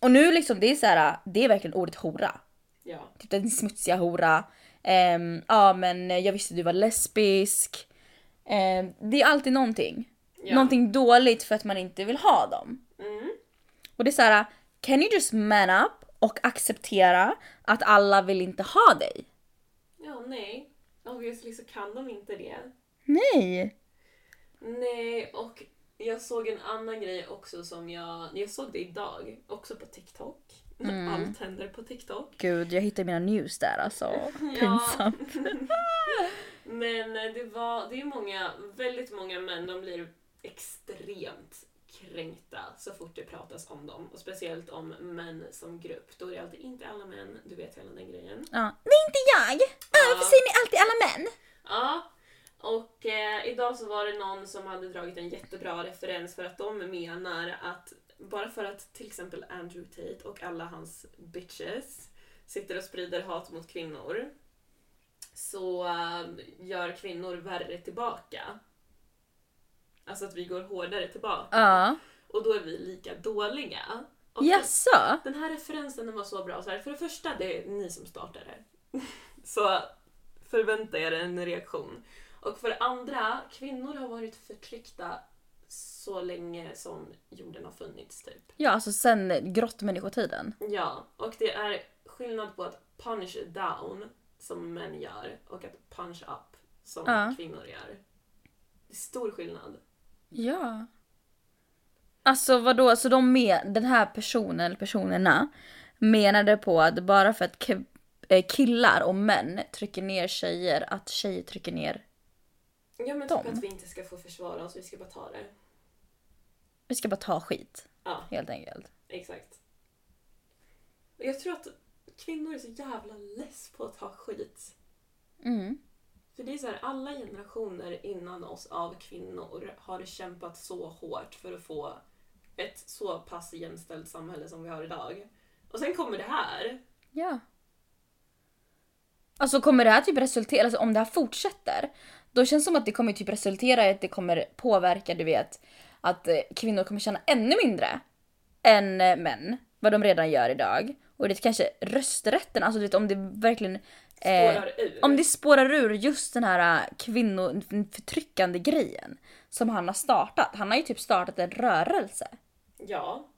[SPEAKER 1] Och nu liksom det är så här, det är verkligen ordet hora.
[SPEAKER 2] Ja.
[SPEAKER 1] Typ den smutsiga hora. Ehm, ja men jag visste du var lesbisk. Ehm, det är alltid någonting.
[SPEAKER 2] Ja.
[SPEAKER 1] Någonting dåligt för att man inte vill ha dem.
[SPEAKER 2] Mm.
[SPEAKER 1] Och det är så här, can you just man up och acceptera att alla vill inte ha dig?
[SPEAKER 2] ja, nej. Obviously så kan de inte det.
[SPEAKER 1] Nej!
[SPEAKER 2] Nej, och jag såg en annan grej också som jag... Jag såg det idag, också på TikTok. Allt händer på TikTok.
[SPEAKER 1] Gud, jag hittade mina news där alltså. Pinsamt.
[SPEAKER 2] eh, Men det var... Det är många, väldigt många män, de blir extremt kränkta så fort det pratas om dem. Och speciellt om män som grupp. Då är det alltid inte alla män, du vet hela den grejen.
[SPEAKER 1] Ja. Det är inte jag! Äh,
[SPEAKER 2] Ja.
[SPEAKER 1] Varför säger ni alltid alla män?
[SPEAKER 2] Ja, och eh, idag så var det någon som hade dragit en jättebra referens för att de menar att bara för att till exempel Andrew Tate och alla hans bitches sitter och sprider hat mot kvinnor så eh, gör kvinnor värre tillbaka. Alltså att vi går hårdare tillbaka.
[SPEAKER 1] Ja.
[SPEAKER 2] Och då är vi lika dåliga. Och
[SPEAKER 1] Jaså?
[SPEAKER 2] den här referensen den var så bra. Så här, för det första, det är ni som startar det. så förvänta er en reaktion. Och för det andra, kvinnor har varit förtryckta så länge som jorden har funnits. typ.
[SPEAKER 1] Ja, alltså sen grottmänniskotiden.
[SPEAKER 2] Ja, och det är skillnad på att punch down, som män gör, och att punch up, som
[SPEAKER 1] Ja.
[SPEAKER 2] kvinnor gör. Det är stor skillnad.
[SPEAKER 1] Ja. Alltså vadå, så de med, den här personen eller personerna menade på att bara för att ke- eh, killar och män trycker ner tjejer, att tjejer trycker ner...
[SPEAKER 2] Ja, men typ
[SPEAKER 1] Dem.
[SPEAKER 2] att vi inte ska få försvara oss, vi ska bara ta det.
[SPEAKER 1] Vi ska bara ta skit,
[SPEAKER 2] Ja.
[SPEAKER 1] helt enkelt.
[SPEAKER 2] Exakt. Och Jag tror att kvinnor är så jävla less på att ta skit.
[SPEAKER 1] Mm.
[SPEAKER 2] För det är så här, alla generationer innan oss av kvinnor har kämpat så hårt för att få ett så pass jämställt samhälle som vi har idag. Och sen kommer det här.
[SPEAKER 1] Ja. Alltså kommer det här typ resultera, alltså om det här fortsätter, då känns det som att det kommer typ resultera i att det kommer påverka, du vet, att eh, kvinnor kommer känna ännu mindre än eh, män, vad de redan gör idag. Och det kanske rösträtten, alltså du vet om det verkligen... eh,
[SPEAKER 2] Spårar ur.
[SPEAKER 1] om det spårar ur just den här eh, kvinnoförtryckande grejen som han har startat. Han har ju typ startat en rörelse.
[SPEAKER 2] Ja.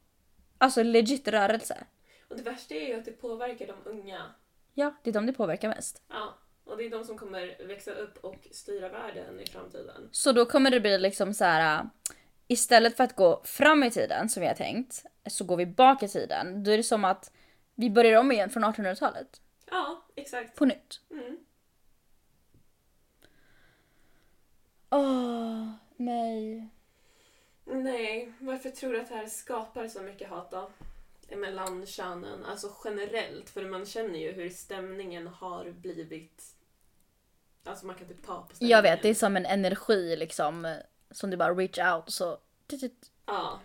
[SPEAKER 1] Alltså legit rörelse.
[SPEAKER 2] Och det värsta är ju att det påverkar de unga.
[SPEAKER 1] Ja, det är de det påverkar mest.
[SPEAKER 2] Ja. Och det är de som kommer växa upp och styra världen i framtiden.
[SPEAKER 1] Så då kommer det bli liksom så här. äh, Istället för att gå fram i tiden som vi har tänkt så går vi bak i tiden. Då är det som att vi börjar om igen från 1800-talet.
[SPEAKER 2] Ja, exakt.
[SPEAKER 1] På nytt.
[SPEAKER 2] Mm.
[SPEAKER 1] Åh, nej.
[SPEAKER 2] Nej, varför tror du att det här skapar så mycket hat då? Mellan könen, alltså generellt. För man känner ju hur stämningen har blivit... Alltså man kan typ ta på stämningen.
[SPEAKER 1] Jag vet, det är som en energi liksom eh, som du bara reach out och så... tit, tit.
[SPEAKER 2] Ja.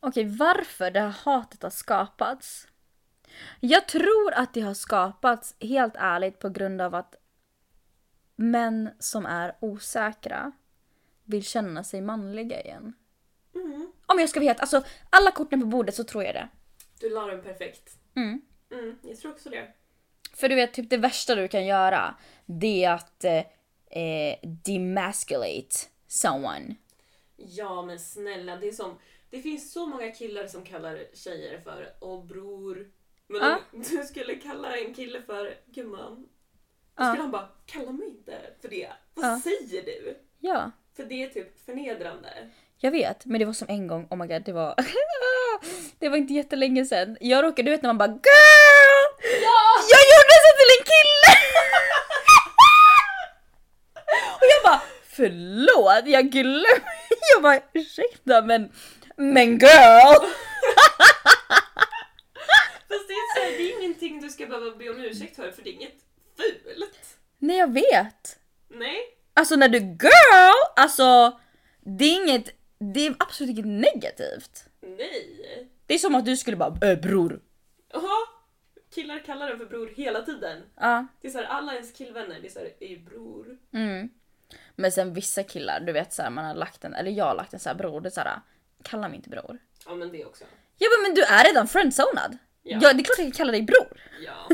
[SPEAKER 1] Okej, varför det här hatet har skapats? Jag tror att det har skapats, helt ärligt, på grund av att män som är osäkra vill känna sig manliga igen.
[SPEAKER 2] Mm.
[SPEAKER 1] Om jag ska vara helt, alltså alla korten på bordet så tror jag det.
[SPEAKER 2] Du la den perfekt.
[SPEAKER 1] Mm.
[SPEAKER 2] Mm, jag tror också det.
[SPEAKER 1] För du vet, typ det värsta du kan göra det är att eh, eh, demasculate someone.
[SPEAKER 2] Ja, men snälla, det är som... Det finns så många killar som kallar tjejer för åh bror. Men
[SPEAKER 1] Ja.
[SPEAKER 2] om du skulle kalla en kille för gumman, då
[SPEAKER 1] Ja.
[SPEAKER 2] skulle han bara kalla mig inte för det. Vad
[SPEAKER 1] Ja.
[SPEAKER 2] säger du?
[SPEAKER 1] Ja,
[SPEAKER 2] För det är typ förnedrande.
[SPEAKER 1] jag vet. Men det var som en gång, oh my god, det var... det var inte jättelänge sedan. Jag råkade, du vet när man bara GIRL! Jag gjorde så till en kille! Och jag bara förlåt, jag glömde. Jag bara ursäkta men, men girl!
[SPEAKER 2] Fast det är, så här, det är ingenting du ska behöva be om ursäkt för, för det är inget fult.
[SPEAKER 1] Nej jag vet.
[SPEAKER 2] Nej.
[SPEAKER 1] Alltså när du girl, alltså det är inget, det är absolut inget negativt.
[SPEAKER 2] Nej.
[SPEAKER 1] Det är som att du skulle bara äh, bror.
[SPEAKER 2] Jaha. Killar kallar den för bror hela tiden.
[SPEAKER 1] Ja.
[SPEAKER 2] Det är så här, alla ens killvänner, det är såhär, ey bror.
[SPEAKER 1] Mm. Men sen vissa killar, du vet såhär man har lagt en, eller jag har lagt en såhär bror, det är såhär kalla mig inte bror.
[SPEAKER 2] Ja men det också.
[SPEAKER 1] Jag bara men du är redan friendzonad.
[SPEAKER 2] Ja.
[SPEAKER 1] Ja. det är klart jag kan kalla dig bror.
[SPEAKER 2] Ja.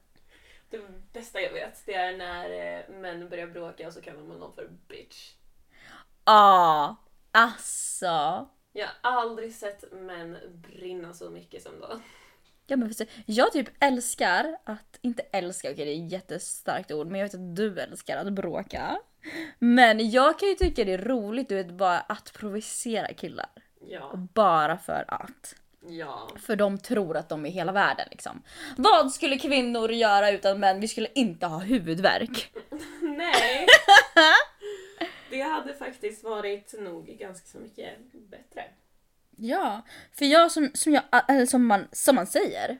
[SPEAKER 2] det bästa jag vet, det är när eh, män börjar bråka och så kallar man någon för bitch.
[SPEAKER 1] Ja, alltså.
[SPEAKER 2] Jag har aldrig sett män brinna så mycket som då.
[SPEAKER 1] Ja, men förstå- jag typ älskar att, inte älskar, okej det är ett jättestarkt ord men jag vet att du älskar att bråka. Men jag kan ju tycka det är roligt du vet bara att provocera killar.
[SPEAKER 2] Ja.
[SPEAKER 1] Bara för att.
[SPEAKER 2] Ja.
[SPEAKER 1] För de tror att de är hela världen liksom. Vad skulle kvinnor göra utan män? Vi skulle inte ha huvudvärk.
[SPEAKER 2] Nej. Det hade faktiskt varit nog ganska så mycket bättre.
[SPEAKER 1] Ja, för jag som, som, jag, äh, eller som, man, som man säger.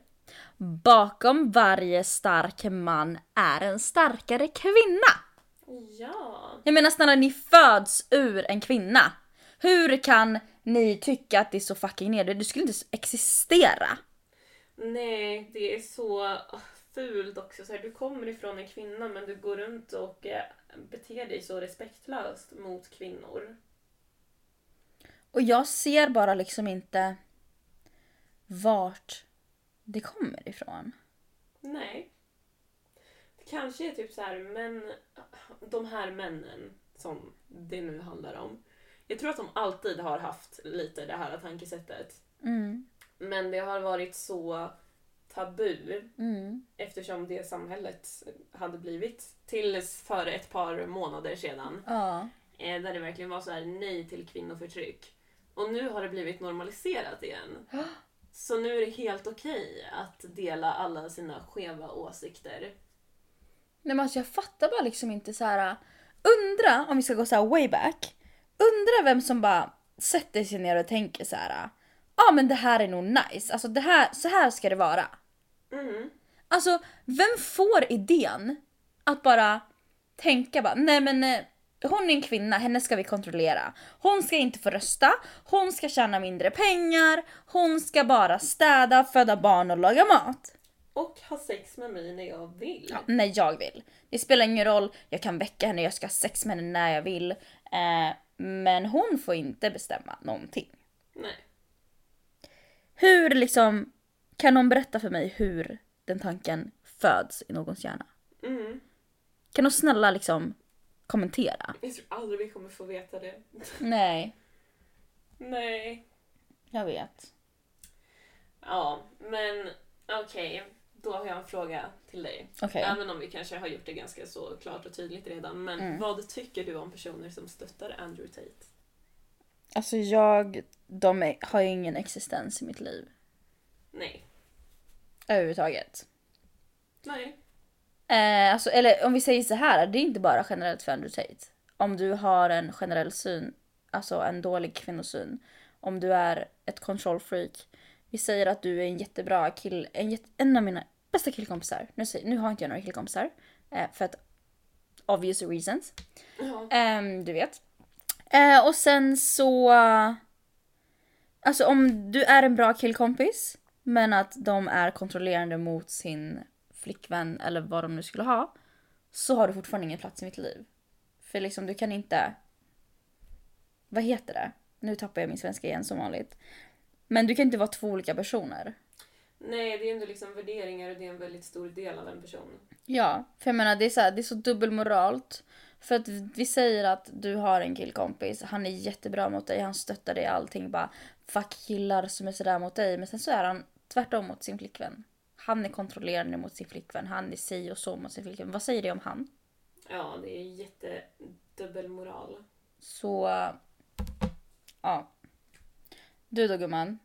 [SPEAKER 1] Bakom varje stark man är en starkare kvinna.
[SPEAKER 2] Ja.
[SPEAKER 1] Jag menar snälla ni föds ur en kvinna. Hur kan ni tycka att det är så fucking nedvärderande? Du skulle inte existera.
[SPEAKER 2] Nej, det är så ah, fult också. Så här, du kommer ifrån en kvinna men du går runt och eh, beter dig så respektlöst mot kvinnor.
[SPEAKER 1] Och jag ser bara liksom inte vart det kommer ifrån.
[SPEAKER 2] Nej. Det kanske är typ så här, men de här männen som det nu handlar om. Jag tror att de alltid har haft lite det här tankesättet.
[SPEAKER 1] Mm,
[SPEAKER 2] Men det har varit så tabu
[SPEAKER 1] mm,
[SPEAKER 2] eftersom det samhället hade blivit tills för ett par månader sedan.
[SPEAKER 1] ja.
[SPEAKER 2] eh, Där det verkligen var så här nej till kvinnoförtryck. Och nu har det blivit normaliserat igen. Så nu är det helt okej att dela alla sina skeva åsikter.
[SPEAKER 1] Nej men alltså jag fattar bara liksom inte så här. Undra, om vi ska gå så här way back. Undra vem som bara sätter sig ner och tänker så här. Ja ah, men det här är nog nice. Alltså det här, så här ska det vara.
[SPEAKER 2] Mm.
[SPEAKER 1] Alltså vem får idén att bara tänka bara nej men eh, hon är en kvinna, henne ska vi kontrollera. Hon ska inte få rösta, hon ska tjäna mindre pengar, hon ska bara städa, föda barn och laga mat.
[SPEAKER 2] Och ha sex med mig när jag vill.
[SPEAKER 1] Ja, när jag vill. Det spelar ingen roll, jag kan väcka henne, jag ska ha sex med henne när jag vill. Eh, men hon får inte bestämma någonting.
[SPEAKER 2] Nej.
[SPEAKER 1] Hur liksom, kan någon berätta för mig hur den tanken föds i någons hjärna?
[SPEAKER 2] Mm.
[SPEAKER 1] Kan du snälla liksom kommentera?
[SPEAKER 2] Jag tror aldrig vi kommer få veta det.
[SPEAKER 1] Nej,
[SPEAKER 2] Nej.
[SPEAKER 1] jag vet.
[SPEAKER 2] Ja, men okej. Då har jag en fråga till dig.
[SPEAKER 1] Okej.
[SPEAKER 2] Även om vi kanske har gjort det ganska så klart och tydligt redan. Men
[SPEAKER 1] Mm.
[SPEAKER 2] vad tycker du om personer som stöttar Andrew Tate?
[SPEAKER 1] Alltså jag, de är, har ju ingen existens i mitt liv.
[SPEAKER 2] Nej.
[SPEAKER 1] Överhuvudtaget.
[SPEAKER 2] Nej.
[SPEAKER 1] Eh, alltså, eller om vi säger så här, det är inte bara generellt för Andrew Tate. Om du har en generell syn, alltså en dålig kvinnosyn. Om du är ett control-freak. Vi säger att du är en jättebra kill, en, jätte, en av mina bästa killkompisar. Nu, säger, nu har inte jag några killkompisar. Eh, för att obvious reasons.
[SPEAKER 2] Ja.
[SPEAKER 1] Ehm, du vet. Eh, och sen så... Alltså om du är en bra killkompis men att de är kontrollerande mot sin flickvän eller vad de nu skulle ha. Så har du fortfarande ingen plats i mitt liv. För liksom du kan inte... Vad heter det? Nu tappar jag min svenska igen som vanligt. Men du kan inte vara två olika personer.
[SPEAKER 2] Nej, det är ändå liksom värderingar och det är en väldigt stor del av en person.
[SPEAKER 1] Ja, för jag menar det är så, här, det är så dubbelmoralt. För att vi säger att du har en killkompis, han är jättebra mot dig, han stöttar dig i allting. Bara fuck killar som är sådär mot dig. Men sen så är han tvärtom mot sin flickvän. Han är kontrollerande mot sin flickvän, han är si och så mot sin flickvän. Vad säger det om han?
[SPEAKER 2] Ja, det är jättedubbelmoral.
[SPEAKER 1] Så... Ja. Du då gumman?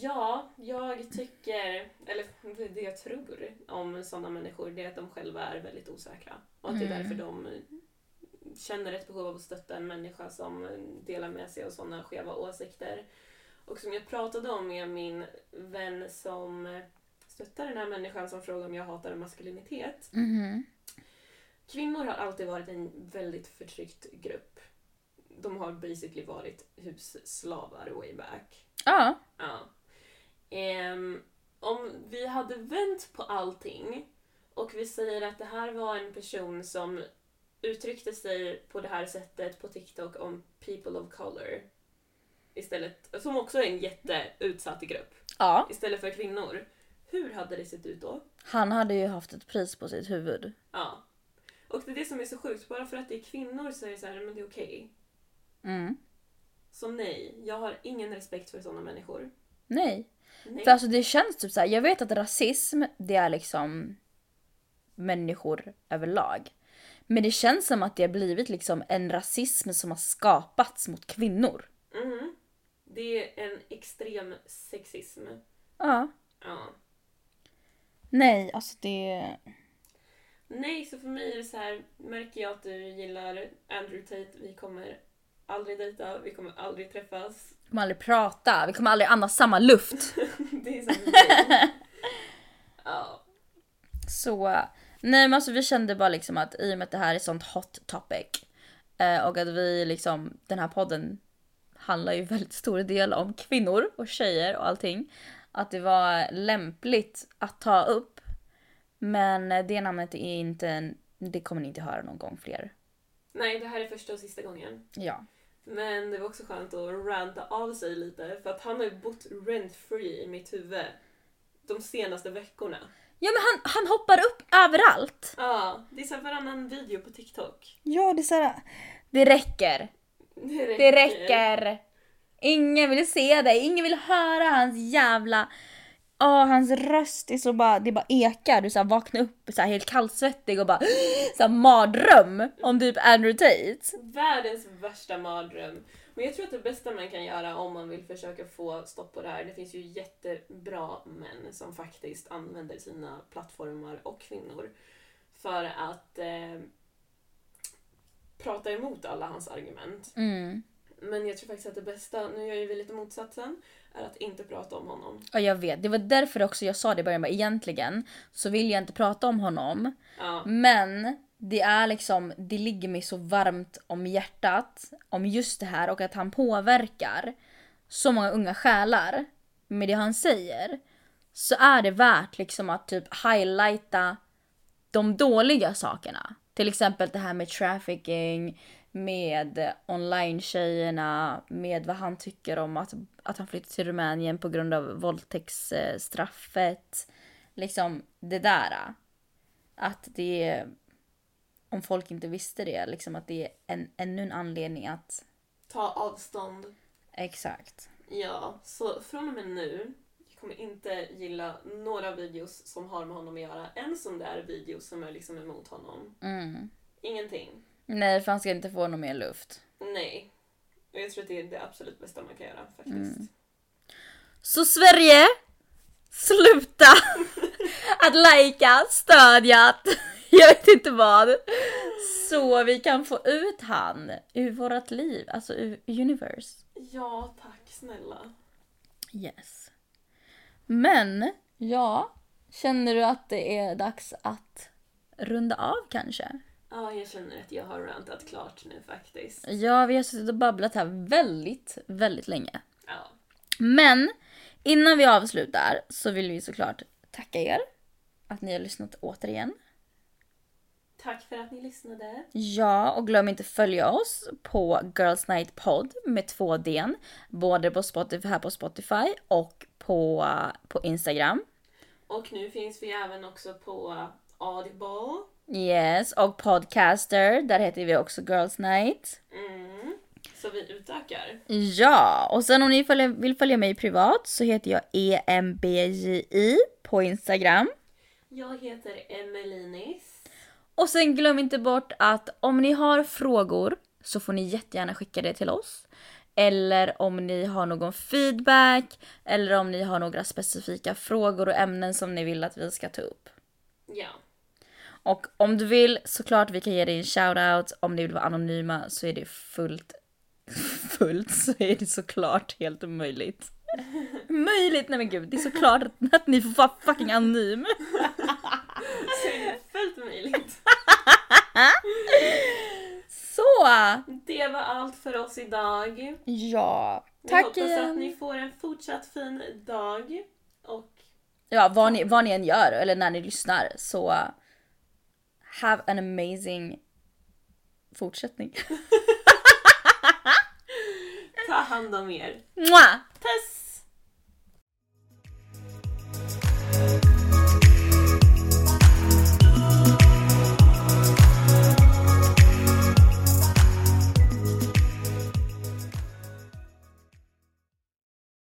[SPEAKER 2] Ja, jag tycker, eller det jag tror om sådana människor, det är att de själva är väldigt osäkra. Och att det är
[SPEAKER 1] Mm.
[SPEAKER 2] därför de känner ett behov av att stötta en människa som delar med sig av sådana skeva åsikter. Och som jag pratade om med min vän som stöttar den här människan som frågar om jag hatar maskulinitet.
[SPEAKER 1] Mhm.
[SPEAKER 2] Kvinnor har alltid varit en väldigt förtryckt grupp. De har basically varit husslavar way back.
[SPEAKER 1] Ja.
[SPEAKER 2] Ja. Ehm, om vi hade vänt på allting och vi säger att det här var en person som uttryckte sig på det här sättet på TikTok om people of color istället, som också är en jätteutsatt grupp,
[SPEAKER 1] Ja.
[SPEAKER 2] istället för kvinnor. Hur hade det sett ut då?
[SPEAKER 1] Han hade ju haft ett pris på sitt huvud.
[SPEAKER 2] Ja. Och det är det som är så sjukt, bara för att det är kvinnor så är det så här, men det är okej.
[SPEAKER 1] Mm.
[SPEAKER 2] Så nej, jag har ingen respekt för sådana människor.
[SPEAKER 1] Nej.
[SPEAKER 2] Nej.
[SPEAKER 1] För alltså det känns typ såhär, jag vet att rasism det är liksom människor överlag. Men det känns som att det har blivit liksom en rasism som har skapats mot kvinnor.
[SPEAKER 2] Mhm. Det är en extrem sexism.
[SPEAKER 1] Ja.
[SPEAKER 2] Ja.
[SPEAKER 1] Nej, alltså det...
[SPEAKER 2] Nej, så för mig är det så här, märker jag att du gillar Andrew Tate, vi kommer aldrig dejta, vi kommer aldrig träffas.
[SPEAKER 1] Vi kommer aldrig prata, vi kommer aldrig andas samma luft.
[SPEAKER 2] Det är som nej. Ja.
[SPEAKER 1] Så nej men alltså vi kände bara liksom att i och med att det här är sånt hot topic eh, och att vi liksom, den här podden handlar ju väldigt stor del om kvinnor och tjejer och allting. Att det var lämpligt att ta upp. Men det namnet är inte, en- det kommer ni inte höra någon gång fler.
[SPEAKER 2] Nej, det här är första och sista gången.
[SPEAKER 1] Ja.
[SPEAKER 2] Men det var också skönt att ranta av sig lite för att han har ju bott rent free i mitt huvud de senaste veckorna.
[SPEAKER 1] Ja men han, han hoppar upp överallt.
[SPEAKER 2] Ja, det är så här varannan video på TikTok.
[SPEAKER 1] Ja det är såhär. Det räcker.
[SPEAKER 2] Det räcker.
[SPEAKER 1] Det räcker! Ingen vill se dig, ingen vill höra hans jävla... Åh, hans röst är så bara, det bara ekar. Du så här vaknar upp så här helt kallsvettig och bara så här mardröm om typ Andrew Tate.
[SPEAKER 2] Världens värsta mardröm. Men jag tror att det bästa man kan göra om man vill försöka få stopp på det här, det finns ju jättebra män som faktiskt använder sina plattformar och kvinnor för att eh, prata emot alla hans argument.
[SPEAKER 1] Mm.
[SPEAKER 2] Men jag tror faktiskt att det bästa, nu gör ju vi lite motsatsen, är att inte prata om honom.
[SPEAKER 1] Ja, jag vet. Det var därför också jag sa det i början, bara, egentligen så vill jag inte prata om honom.
[SPEAKER 2] Ja,
[SPEAKER 1] Men det är liksom, det ligger mig så varmt om hjärtat om just det här och att han påverkar så många unga själar med det han säger. Så är det värt liksom att typ highlighta de dåliga sakerna. Till exempel det här med trafficking, med online-tjejerna, med vad han tycker om att, att han flyttar till Rumänien på grund av våldtäktsstraffet. Liksom det där att det är, om folk inte visste det, liksom att det är en, ännu en anledning att...
[SPEAKER 2] ta avstånd.
[SPEAKER 1] Exakt.
[SPEAKER 2] Ja, så från och med nu jag kommer inte gilla några videos som har med honom att göra. En som det är videos som är liksom emot honom.
[SPEAKER 1] Mm.
[SPEAKER 2] Ingenting.
[SPEAKER 1] Nej, för han ska inte få någon mer luft.
[SPEAKER 2] Nej. Och jag tror att det är det absolut bästa man kan göra faktiskt.
[SPEAKER 1] Så Sverige, sluta att lajka, stödja, att- jag vet inte vad. Så vi kan få ut han ur vårt liv, alltså ur universe.
[SPEAKER 2] Ja, tack snälla.
[SPEAKER 1] Yes. Men, ja, känner du att det är dags att runda av kanske?
[SPEAKER 2] Ja, jag känner att jag har rantat klart nu faktiskt.
[SPEAKER 1] Ja, vi har suttit och babblat här väldigt, väldigt länge.
[SPEAKER 2] Ja.
[SPEAKER 1] Men innan vi avslutar så vill vi såklart tacka er att ni har lyssnat återigen.
[SPEAKER 2] Tack för att ni lyssnade.
[SPEAKER 1] Ja, och glöm inte följa oss på Girls Night Pod med två d Både på Spotify, här på Spotify och på, på Instagram.
[SPEAKER 2] Och nu finns vi även också på Audible.
[SPEAKER 1] Yes, och Podcaster, där heter vi också Girls Night.
[SPEAKER 2] Mm. Så vi utökar.
[SPEAKER 1] Ja, och sen om ni följer, vill följa mig privat så heter jag E EMBJI på Instagram.
[SPEAKER 2] Jag heter Emelinis.
[SPEAKER 1] Och sen glöm inte bort att om ni har frågor så får ni jättegärna skicka det till oss. Eller om ni har någon feedback eller om ni har några specifika frågor och ämnen som ni vill att vi ska ta upp.
[SPEAKER 2] Ja.
[SPEAKER 1] Och om du vill såklart vi kan ge dig en shoutout. Om ni vill vara anonyma så är det fullt fullt så är det såklart helt möjligt. Möjligt? Nej men gud, det är såklart att ni får vara fucking anonym.
[SPEAKER 2] Så är det fullt möjligt.
[SPEAKER 1] Så!
[SPEAKER 2] Det var allt för oss idag.
[SPEAKER 1] Ja,
[SPEAKER 2] Vi
[SPEAKER 1] tack
[SPEAKER 2] hoppas att
[SPEAKER 1] igen.
[SPEAKER 2] ni får en fortsatt fin dag. Och
[SPEAKER 1] Ja, vad ni, vad ni än gör eller när ni lyssnar så uh, have an amazing fortsättning.
[SPEAKER 2] ta hand om er.
[SPEAKER 1] Mwah!
[SPEAKER 2] Puss!